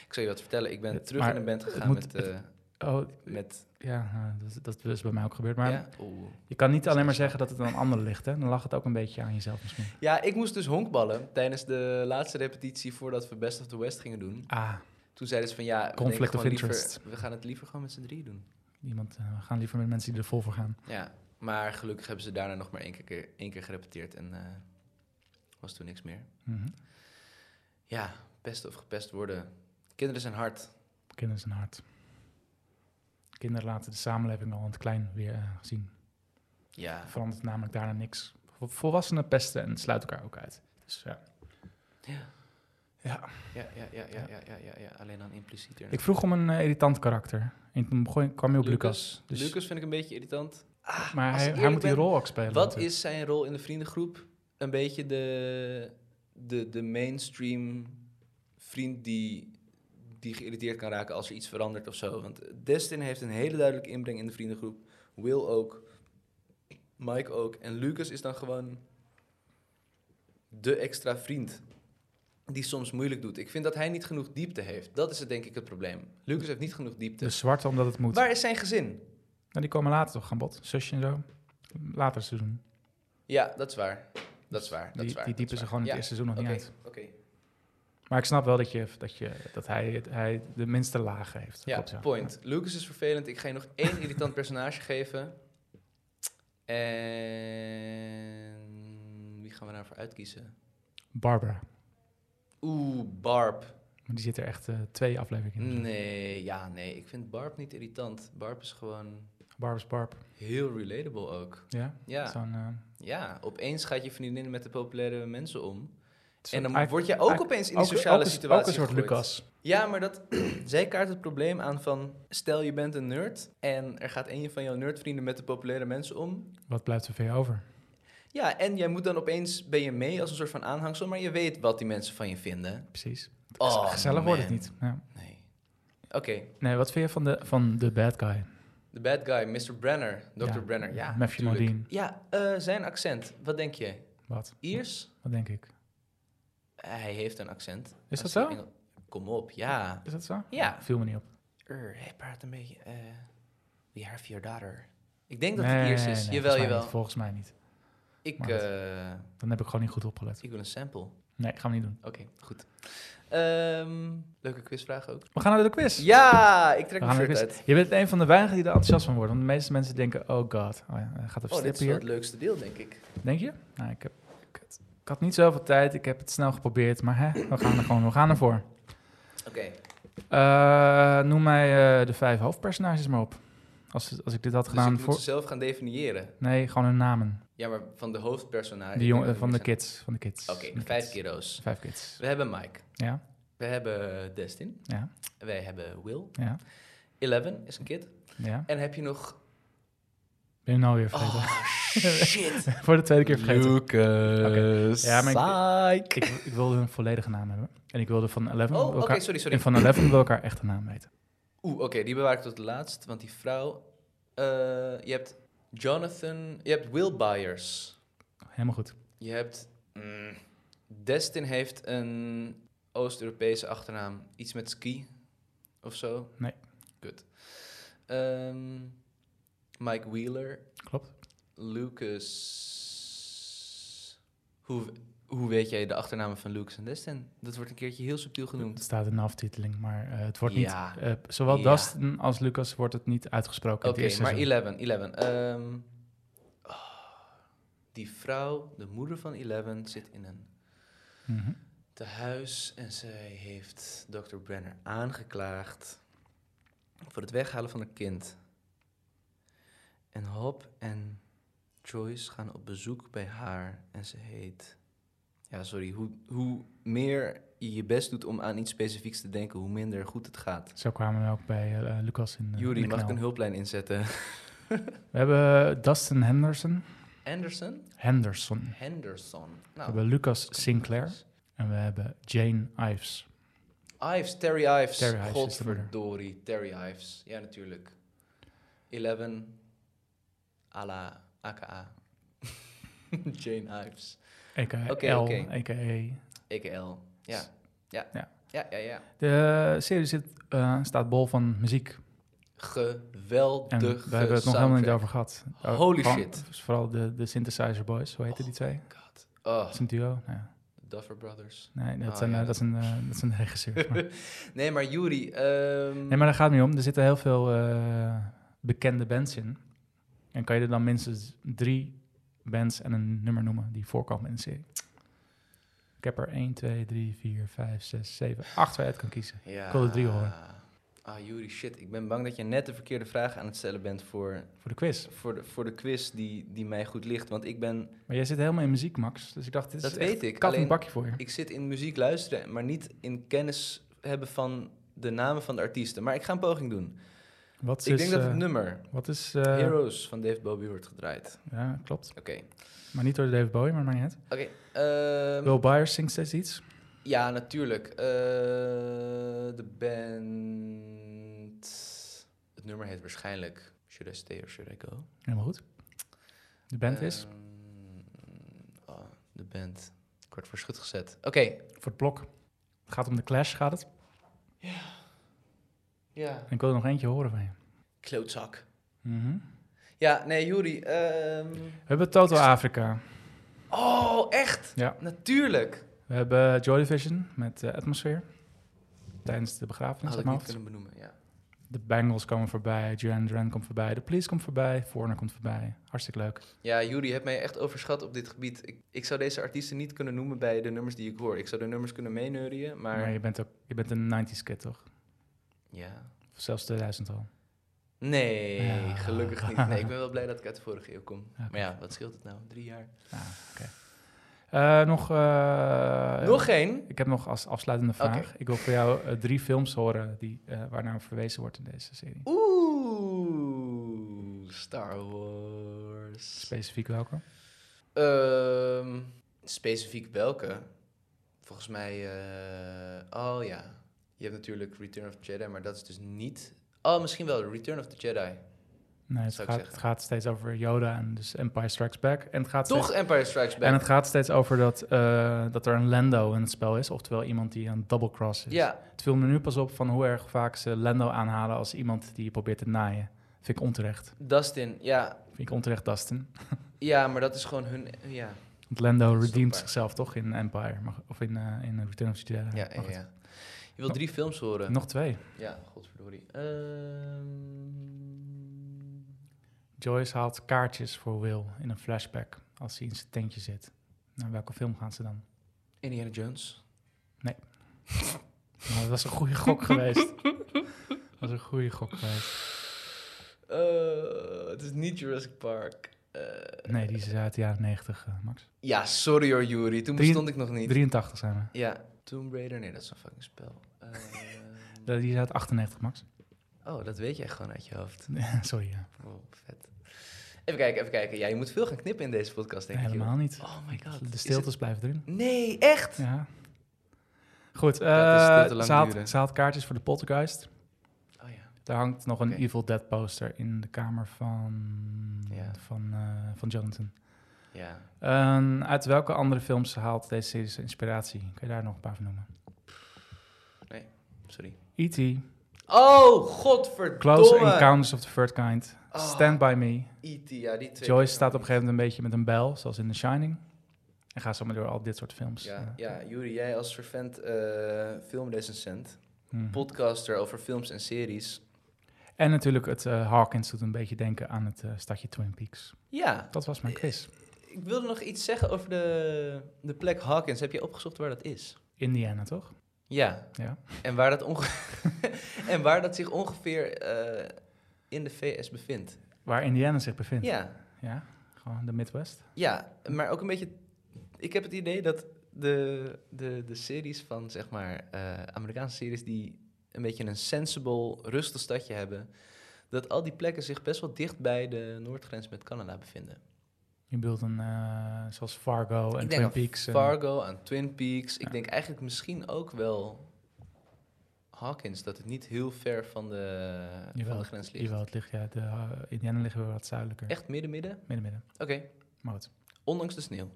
Ik zal je wat vertellen. Ik ben Het- terug maar in de band het gegaan met... moet- het- eh, Oh, met ja, eh, dat, dat is bij mij ook gebeurd. Maar ja? Oeh. je kan niet alleen maar zeggen dat het aan anderen ligt, hè. Dan lag het ook een beetje aan jezelf misschien. ja, ik moest dus honkballen tijdens de laatste repetitie voordat we Best of the West gingen doen. Ah, Toen zeiden ze van ja, we Conflict denken of gewoon interest. Liever, we gaan het liever gewoon met z'n drie doen. Iemand, eh, we gaan liever met mensen die er vol voor gaan. Ja, maar gelukkig hebben ze daarna nog maar één keer, één keer gerepeteerd en eh, was toen niks meer. Mhm. Ja, pesten of gepest worden. Kinderen zijn hard. Kinderen zijn hard. Kinderen laten de samenleving al in het klein weer eh, zien. Ja, Verandert namelijk daarna niks. volwassenen pesten en sluiten elkaar ook uit. Dus ja. Ja. Ja. Ja, ja, ja, ja, ja, ja, ja, ja. Alleen dan implicieter. Ik vroeg om een eh, irritant karakter. En toen begon, kwam je op Lucas. dus, ah, Lucas vind ik een beetje irritant. maar als hij, ik hij moet eerlijk die ben, rol ook spelen. Wat natuurlijk. is zijn rol in de vriendengroep? Een beetje de, de, de mainstream vriend die, die geïrriteerd kan raken als er iets verandert of zo. Want Destin heeft een hele duidelijke inbreng in de vriendengroep. Will ook. Mike ook. En Lucas is dan gewoon de extra vriend. Die soms moeilijk doet. Ik vind dat hij niet genoeg diepte heeft. Dat is het, denk ik het probleem. Lucas heeft niet genoeg diepte. De zwarte, omdat het moet. Waar is zijn gezin? Nou, die komen later toch aan bod. Zusje en zo. Later seizoen. Ja, dat is waar. Dat is waar. Dat die, is waar. die diepen ze gewoon in in het eerste seizoen nog Oké, niet uit. oké. Maar ik snap wel dat, je, dat, je, dat hij, het- hij de minste lagen heeft. Ja, Klopt, point. Lucas is vervelend. Ik ga je nog één irritant personage geven. En wie gaan we daarvoor uitkiezen? Barbara. Oeh, Barb. Maar die zit er echt eh, twee afleveringen in. Nee, ja, nee. Ik vind Barb niet irritant. Barb is gewoon Barbara's Barb. heel relatable ook. Ja? Ja, Zo'n, eh, ja. Opeens gaat je vriendin met de populaire mensen om. En soort- dan eigenlijk- word je ook eigenlijk- opeens in die ook- sociale ook een- situatie Ook een soort gegooid. Lucas. Ja, maar dat, *clears throat* zij kaart het probleem aan van... stel je bent een nerd en er gaat een van jouw nerdvrienden met de populaire mensen om. Wat blijft er van je over? Ja, en jij moet dan opeens... ben je mee als een soort van aanhangsel... maar je weet wat die mensen van je vinden. Precies. Oh, Gezellig wordt het man. niet. Ja. Nee. Oké, Nee, wat vind je van de, van de bad guy? the bad guy, Mr. Brenner. Dr. Ja, Brenner, ja. Matthew natuurlijk. Modine. Ja, eh, zijn accent. Wat denk je? Wat? Iers? Wat denk ik? Hij heeft een accent. Is dat Als hij zo? Engel- Kom op, ja. Is dat zo? Ja. Viel me niet op. Er, hij praat een beetje... eh, we have your daughter. Ik denk dat Nee, het Iers nee, is. nee, jawel, volgens mij jawel. niet, volgens mij niet. Ik, Maar het- eh, Dan heb ik gewoon niet goed opgelet. ik wil een sample. Nee, gaan we niet doen. Oké, goed. Ehm, leuke quizvraag ook. We gaan naar de quiz. Ja, ik trek We mijn gaan naar shirt de quiz. uit. Je bent een van de weinigen die er enthousiast van worden. Want de meeste mensen denken, oh god, oh ja, hij gaat even Oh, dit is wel stippen hier. het leukste deel, denk ik. Denk je? Nou, ik, heb, ik, had, ik had niet zoveel tijd. Ik heb het snel geprobeerd. Maar hè, we gaan er gewoon, we gaan ervoor. Oké, Eh, noem mij eh, de vijf hoofdpersonages maar op. Als, als ik dit had dus ik gedaan moet voor... ze zelf gaan definiëren. Nee, gewoon hun namen. Ja, maar van de hoofdpersonage. De Ah, ik jong, denk van de dat er meer kids. Van de kids. zijn. Oké, Van de vijf kids. kiddo's. Vijf kids. We hebben Mike. Ja, We hebben Destin. ja, Wij hebben Will. ja, Eleven is een kid. ja. En heb je nog... Ben je nou weer vergeten? *laughs* Oh, shit. voor de tweede keer vergeten. Lucas. Ja, maar Psych. Ik, ik wilde hun volledige naam hebben. En ik wilde van Eleven... Oh, oké, elkaar, sorry, sorry. *clears throat* en van Eleven wil elkaar echt een naam weten. Oeh, oké, die bewaar ik tot het laatst, want die vrouw... eh, je hebt Jonathan... Je hebt Will Byers. Helemaal goed. Je hebt... mm, Destin heeft een Oost-Europese achternaam. Iets met ski of zo. Nee. Kut. Ehm, Mike Wheeler. Klopt. Lucas... Hoe, hoe weet jij de achternamen van Lucas en Destin? Dat wordt een keertje heel subtiel Het genoemd. staat in de aftiteling, maar eh, het wordt Ja. niet... eh, zowel Ja. Dustin als Lucas wordt het niet uitgesproken. Oké, in het eerste maar seizoen. 11, 11. Ehm, oh, die vrouw, de moeder van 11, zit in een Mhm. tehuis en zij heeft Dr. Brenner aangeklaagd voor het weghalen van een kind. En Hop en Joyce gaan op bezoek bij haar en ze heet... Ja, sorry, hoe, hoe meer je je best doet om aan iets specifieks te denken, hoe minder goed het gaat. Zo kwamen we ook bij eh, Lucas in... eh, in Juri, de mag ik knel. een hulplijn inzetten? *laughs* We hebben Dustin Henderson. Anderson? Henderson. Henderson. We Nou, hebben Lucas Sinclair. En we hebben Jane Ives. Ives, Terry Ives. Terry Ives is de Godverdorie, Terry Ives. Ja, natuurlijk. 11, à la aka *laughs* Jane Ives, A.k.a. Oké, L, oké. a.k.a. EKL. Ja. Ja. Ja. ja, ja, ja. De serie zit, eh, staat bol van muziek. En we Geweldig. hebben het nog helemaal niet over gehad. Oh, Holy vooral- shit. Vooral de, de Synthesizer Boys, hoe heette die twee? God. Oh, Dat is een duo? Nou ja. Duffer Brothers. *laughs* Nee, dat, Oh, zijn, ja, dat- eh, dat, zijn, eh, dat zijn de regisseurs. maar- Nee, maar Yuri. ehm, Nee, maar daar gaat het niet om. Er zitten heel veel eh, bekende bands in. En kan je er dan minstens drie bands en een nummer noemen die voorkomen in de serie? Ik heb er 1, 2, 3, 4, 5, 6, 7, 8 waar je uit kan kiezen. ja. ik wil er drie horen. Ah, Juri, shit. Ik ben bang dat je net de verkeerde vraag aan het stellen bent voor, Voor de quiz. voor, de, voor de quiz die, die mij goed ligt. Want ik ben Maar jij zit helemaal in muziek, Max. Dus ik dacht, dit is Dat echt weet ik, kat alleen een bakje voor je. Ik zit in muziek luisteren, maar niet in kennis hebben van de namen van de artiesten. Maar ik ga een poging doen. Wat is, ik denk dat het eh, nummer Wat is... eh, Heroes van Dave Bowie wordt gedraaid. Ja, klopt. Oké. Maar niet door David Bowie, maar maar niet uit. Oké. ehm, Will Byers zingt steeds iets. ja, natuurlijk. Eh, de band. Het nummer heet waarschijnlijk Should I Stay or Should I Go? Helemaal goed. De band is Ehm, oh, de band. Ik word voor schut gezet. Oké. voor het blok. Het gaat om de Clash, gaat het. Ja. En ik wil er nog eentje horen van je. Klootzak. Mhm. Ja, nee, Juri. ehm, We hebben Total Africa. Oh, echt? Ja. Natuurlijk. We hebben Joy Division met eh, Atmosphere. Tijdens de begrafenis. Had uit ik mijn niet hoofd. kunnen benoemen, ja. De Bengals komen voorbij. Duran Duran komt voorbij. De Police komt voorbij. Foreigner komt voorbij. Hartstikke leuk. Ja, Juri hebt mij echt overschat op dit gebied. Ik, ik zou deze artiesten niet kunnen noemen bij de nummers die ik hoor. Ik zou de nummers kunnen meeneurien, maar... Maar, je, bent ook, je bent een 90s kid, toch? Ja. Of zelfs 2000 al. Nee, Ja. gelukkig niet. Nee, ik ben wel blij dat ik uit de vorige eeuw kom. Ja, Maar ja, wat scheelt het nou? Drie jaar. Ah, oké. Eh, nog... eh, Nog één? Ik heb nog als afsluitende Oké. vraag. Ik wil voor jou eh, drie films horen die, eh, waarnaar verwezen wordt in deze serie. Oeh, Star Wars. Specifiek welke? Ehm, specifiek welke? Volgens mij, eh, oh ja. Je hebt natuurlijk Return of the Jedi, maar dat is dus niet. Oh, misschien wel Return of the Jedi. Nee, het Zou ik gaat, zeggen. het gaat steeds over Yoda en dus Empire Strikes Back. En het gaat steeds- Toch Empire Strikes Back. En het gaat steeds over dat, eh, dat er een Lando in het spel is, oftewel iemand die een double cross is. Ja, Het viel me nu pas op van hoe erg vaak ze Lando aanhalen als iemand die je probeert te naaien. Vind ik onterecht. Dustin. Ja, Vind ik onterecht, Dustin. ja maar dat is gewoon hun. Ja, Want Lando Stopbaar. redeemt zichzelf toch in Empire, mag- of in, eh, in Return of the Jedi. ja, ja. Mag het. ja. Je wil drie films horen. Nog twee. Ja, godverdorie. Ehm, Joyce haalt kaartjes voor Will in een flashback als hij in zijn tentje zit. Naar welke film gaan ze dan? Indiana Jones. Nou, dat was een goede gok geweest. Dat was een goede gok geweest. Eh, het is niet Jurassic Park. Eh, Nee, die is uit de jaren 90, eh, Max. Ja, sorry hoor, Juri. Toen Drie- bestond ik nog niet. 83 zijn we. Ja, Tomb Raider. Nee, dat is een fucking spel. Ehm, Dat- Die is uit 98, Max. *laughs* oh, dat weet je echt gewoon uit je hoofd. Sorry, ja. Oh, vet. Even kijken, even kijken. Ja, je moet veel gaan knippen in deze podcast, denk ik. joh. helemaal niet. Oh my god. De Is stiltes blijven erin. *laughs* het- Nee, echt? Ja. Goed, is eh, veel te lang ze, haalt, duren. ze haalt kaartjes voor de poltergeist. Oh ja. Daar hangt nog een Oké. Evil Dead poster in de kamer van, Ja. van, eh, van Jonathan. Ja. Ehm, uit welke andere films haalt deze serie zijn inspiratie? Kun je daar nog een paar van noemen? Sorry. E.T., Oh, godverdomme. Close Encounters of the Third Kind, Oh, Stand By Me. E.T., ja, die twee. Joyce staat op een gegeven moment een beetje met een bel, zoals in The Shining. En gaat zo maar door al dit soort films. Ja, Eh, ja, Juri, jij als vervent eh filmrecensent, hmm. podcaster over films en series. En natuurlijk het eh, Hawkins doet een beetje denken aan het eh, stadje Twin Peaks. Ja, Dat was mijn quiz. ik wilde nog iets zeggen over de, de plek Hawkins. Heb je opgezocht waar dat is? Indiana, toch? Ja. Ja. En waar dat, onge- *laughs* en waar dat zich ongeveer eh, in de VS bevindt. Waar Indiana zich bevindt. Ja. Ja, gewoon de Midwest. ja, maar ook een beetje... Ik heb het idee dat de, de, de series van, zeg maar, eh, Amerikaanse series... die een beetje een sensible, rustig stadje hebben... dat al die plekken zich best wel dicht bij de noordgrens met Canada bevinden. Je bedoelt een, eh, zoals Fargo en ik Twin denk Peaks. en- aan Fargo, aan Twin Peaks. Ja. Ik denk eigenlijk misschien ook wel... Hawkins, dat het niet heel ver van de, van Jawel, de grens ligt. Jawel, het ligt, ja, de, eh, Indiana liggen weer wat zuidelijker. Echt midden-midden? Midden, midden. Oké, Maar goed, ondanks de sneeuw.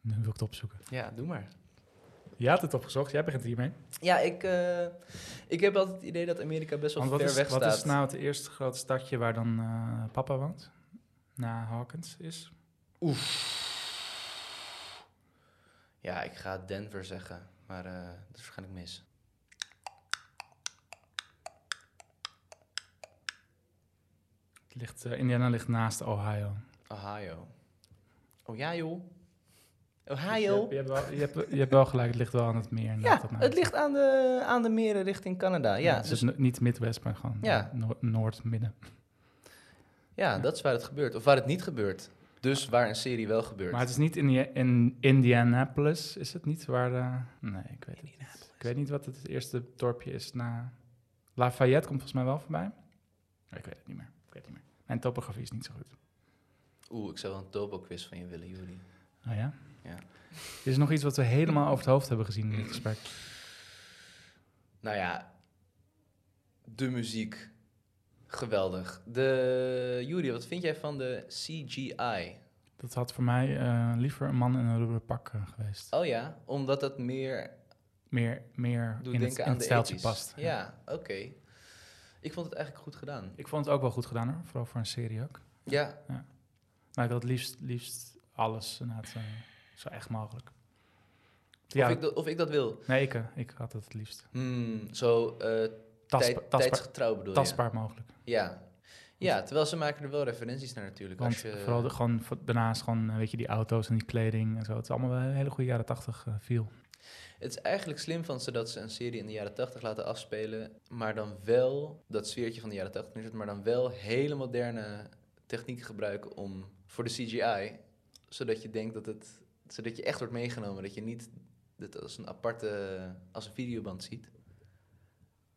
nu wil ik het opzoeken. Ja, doe maar. Je had het opgezocht, jij begint hiermee. Ja, ik, eh, ik heb altijd het idee dat Amerika best wel Want wat ver is, weg wat staat. is nou het eerste grote stadje waar dan eh, papa woont? Na Hawkins is? Ja, ik ga Denver zeggen, maar eh, dat is waarschijnlijk mis. Het Ligt, eh, Indiana ligt naast Ohio. Ohio. Oh ja, joh. Oké, Dus je, Ohio. hebt, je, hebt wel, je, hebt, je hebt wel gelijk, het ligt wel aan het meer. inderdaad, Ja, dat nou het is. ligt aan de, aan de meren richting Canada. Ja, dus, dus het is n- niet Midwest, maar gewoon Ja. no- Noord, Midden. ja, dat is waar het gebeurt. Of waar het niet gebeurt. Dus waar een serie wel gebeurt. Maar het is niet in, die- in Indianapolis, is het niet? Waar de- Nee, ik weet het niet. Ik weet niet wat het, eerste dorpje is na... Lafayette komt volgens mij wel voorbij. Ik weet het niet meer. Ik weet het niet meer. Mijn topografie is niet zo goed. Oeh, ik zou wel een topo-quiz van je willen, Juri. Oh ja? Ja. Is er nog iets wat we helemaal over het hoofd hebben gezien in dit gesprek? Nou ja, de muziek. Geweldig. De, Juri, wat vind jij van de CGI? Dat had voor mij eh, liever een man in een rubberen pak eh, geweest. Oh ja, omdat dat meer Meer, meer doet in het, denken in aan het de stijltje 80s. past. Ja, oké. Ik vond het eigenlijk goed gedaan. Ik vond het ook wel goed gedaan hoor, vooral voor een serie ook. Ja, Maar ik had het liefst, liefst alles inderdaad, eh, zo echt mogelijk. ja. Ja, Of, ik dat, of ik dat wil. nee, ik, eh, ik had het het liefst. Hmm, zo eh Tastba- tijd- tastbaar, tijdsgetrouw bedoel je? tastbaar mogelijk. Ja. ja, terwijl ze maken er wel referenties naar natuurlijk. Want als je, vooral de, gewoon, voor- daarnaast gewoon, eh, weet je, die auto's en die kleding en zo. Het is allemaal wel een hele goede jaren tachtig eh, viel. Het is eigenlijk slim van ze dat ze een serie in de jaren 80 laten afspelen, maar dan wel dat sfeertje van de jaren 80 neerzet, maar dan wel hele moderne technieken gebruiken om voor de CGI, zodat je denkt dat het, zodat je echt wordt meegenomen, dat je niet dit als een aparte, als een videoband ziet,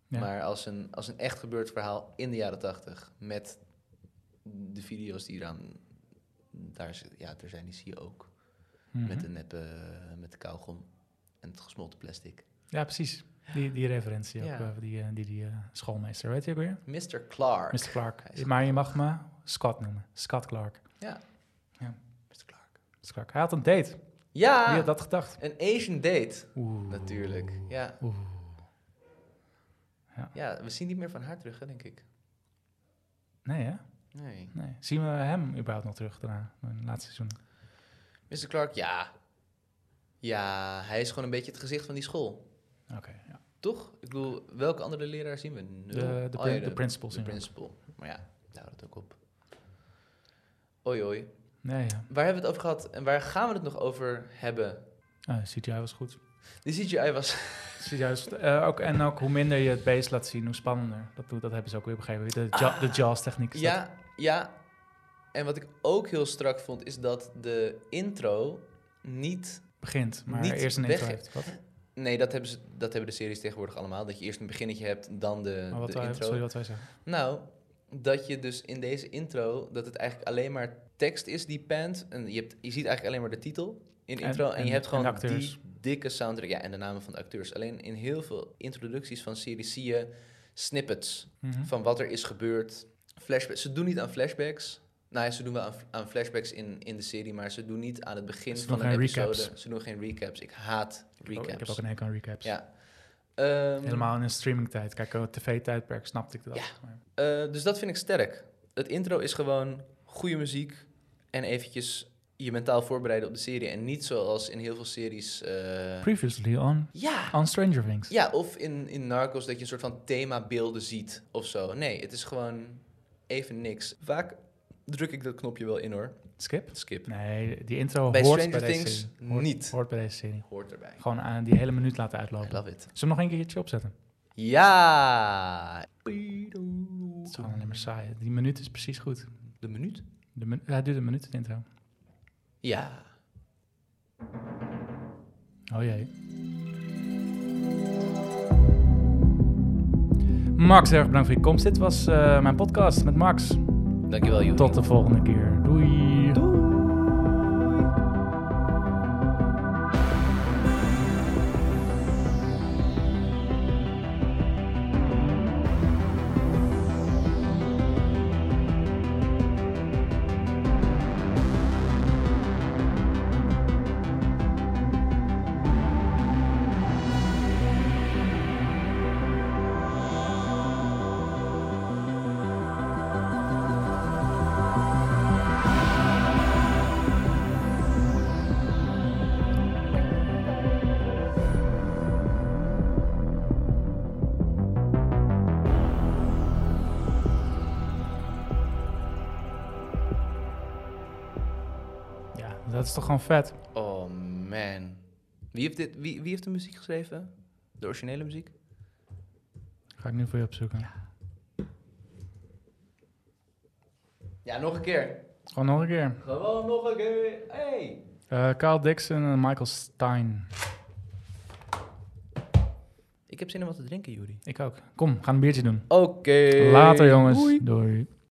Ja. maar als een, als een echt gebeurd verhaal in de jaren 80 met de video's die eraan, daar, zit- ja, er zijn die zie je ook Mhm. met de neppe, eh, met de kauwgom en het gesmolten plastic. Ja, precies. Die, die referentie ook, Ja. eh, die, eh, die, die eh, schoolmeester, weet je ook weer? Mr. Clark. Mr. Clark. Hij is- Maar je mag me Scott noemen. Scott Clark. Mr. Clark. Scott Clark. Hij had een date. Wie Ja, had dat gedacht? een Asian date. Oeh. Natuurlijk, ja. Oeh. Ja, we zien niet meer van haar terug, hè, denk ik. Nee, hè? Nee. Nee. Zien we hem überhaupt nog terug daarna, in het laatste seizoen? Mr. Clark, ja. Ja, hij is gewoon een beetje het gezicht van die school. Oké, ja. Toch? Ik bedoel, welke andere leraar zien we? Nul. De, de, Oh, prin- ja, de principal de zien we ook. principal. Maar ja, daar houdt het ook op. Oi, oi. Nee, ja. Waar hebben we het over gehad en waar gaan we het nog over hebben? Eh, CGI was goed. De CGI *laughs* was... CGI was, eh, ook, en ook hoe minder je het beest laat zien, hoe spannender. Dat, doet- dat hebben ze ook weer begrepen. De, ja- de Jaws-techniek is dat. Ah. Ja, ja. En wat ik ook heel strak vond, is dat de intro niet begint, maar Niet eerst een intro weg- heeft. Wat? Nee, dat hebben, ze, dat hebben de series tegenwoordig allemaal. Dat je eerst een beginnetje hebt, dan de, Maar wat de wij- intro. sorry, wat wij zeggen. Nou, dat je dus in deze intro, dat het eigenlijk alleen maar tekst is die pant. En je, hebt, je ziet eigenlijk alleen maar de titel in En- intro. En, en- je hebt en gewoon de acteurs. die dikke soundtrack. Ja, en de namen van de acteurs. Alleen in heel veel introducties van series zie je snippets Mhm. van wat er is gebeurd. Flashbacks. Ze doen niet aan flashbacks. Nou ja, ze doen wel aan, aan flashbacks in, in de serie, maar ze doen niet aan het begin Ze van doen een geen episode. recaps. Ze doen geen recaps. Ik haat recaps. Oh, ik heb ook een hekel aan recaps. Ja. Ehm, Helemaal in een streamingtijd. Kijk, eh, tv-tijdperk snapte ik dat. Ja. maar- eh, dus dat vind ik sterk. Het intro is gewoon goede muziek en eventjes je mentaal voorbereiden op de serie. En niet zoals in heel veel series... eh, Previously on, ja, on Stranger Things. ja, of in, in Narcos dat je een soort van themabeelden ziet of zo. Nee, het is gewoon even niks. Vaak druk ik dat knopje wel in hoor. Skip? Skip. Nee, die intro Bij hoort Stranger bij deze Things serie. Hoort- niet. Hoort bij deze serie. Hoort erbij. Gewoon aan die hele minuut laten I uitlopen. Zullen love it. we hem nog een keertje opzetten? Ja! Het is gewoon alleen maar saai. Die minuut is precies goed. De minuut? De min- hij duurt een minuut, de intro. Ja. Oh jee. Max, heel erg bedankt voor je komst. Dit was eh, mijn podcast met Max. Dankjewel, Joeri. Tot de volgende keer. Doei. Ja, dat is toch gewoon vet. Oh man. Wie heeft, dit, wie, wie heeft de muziek geschreven? De originele muziek? Ga ik nu voor je opzoeken. Ja, nog een keer. Gewoon nog een keer. Gewoon nog een keer. Hey. Eh Carl Dixon en Michael Stein. Ik heb zin in wat te drinken, Juri. Ik ook. Kom, ga een biertje doen. Oké. Later jongens. Doei. Doei.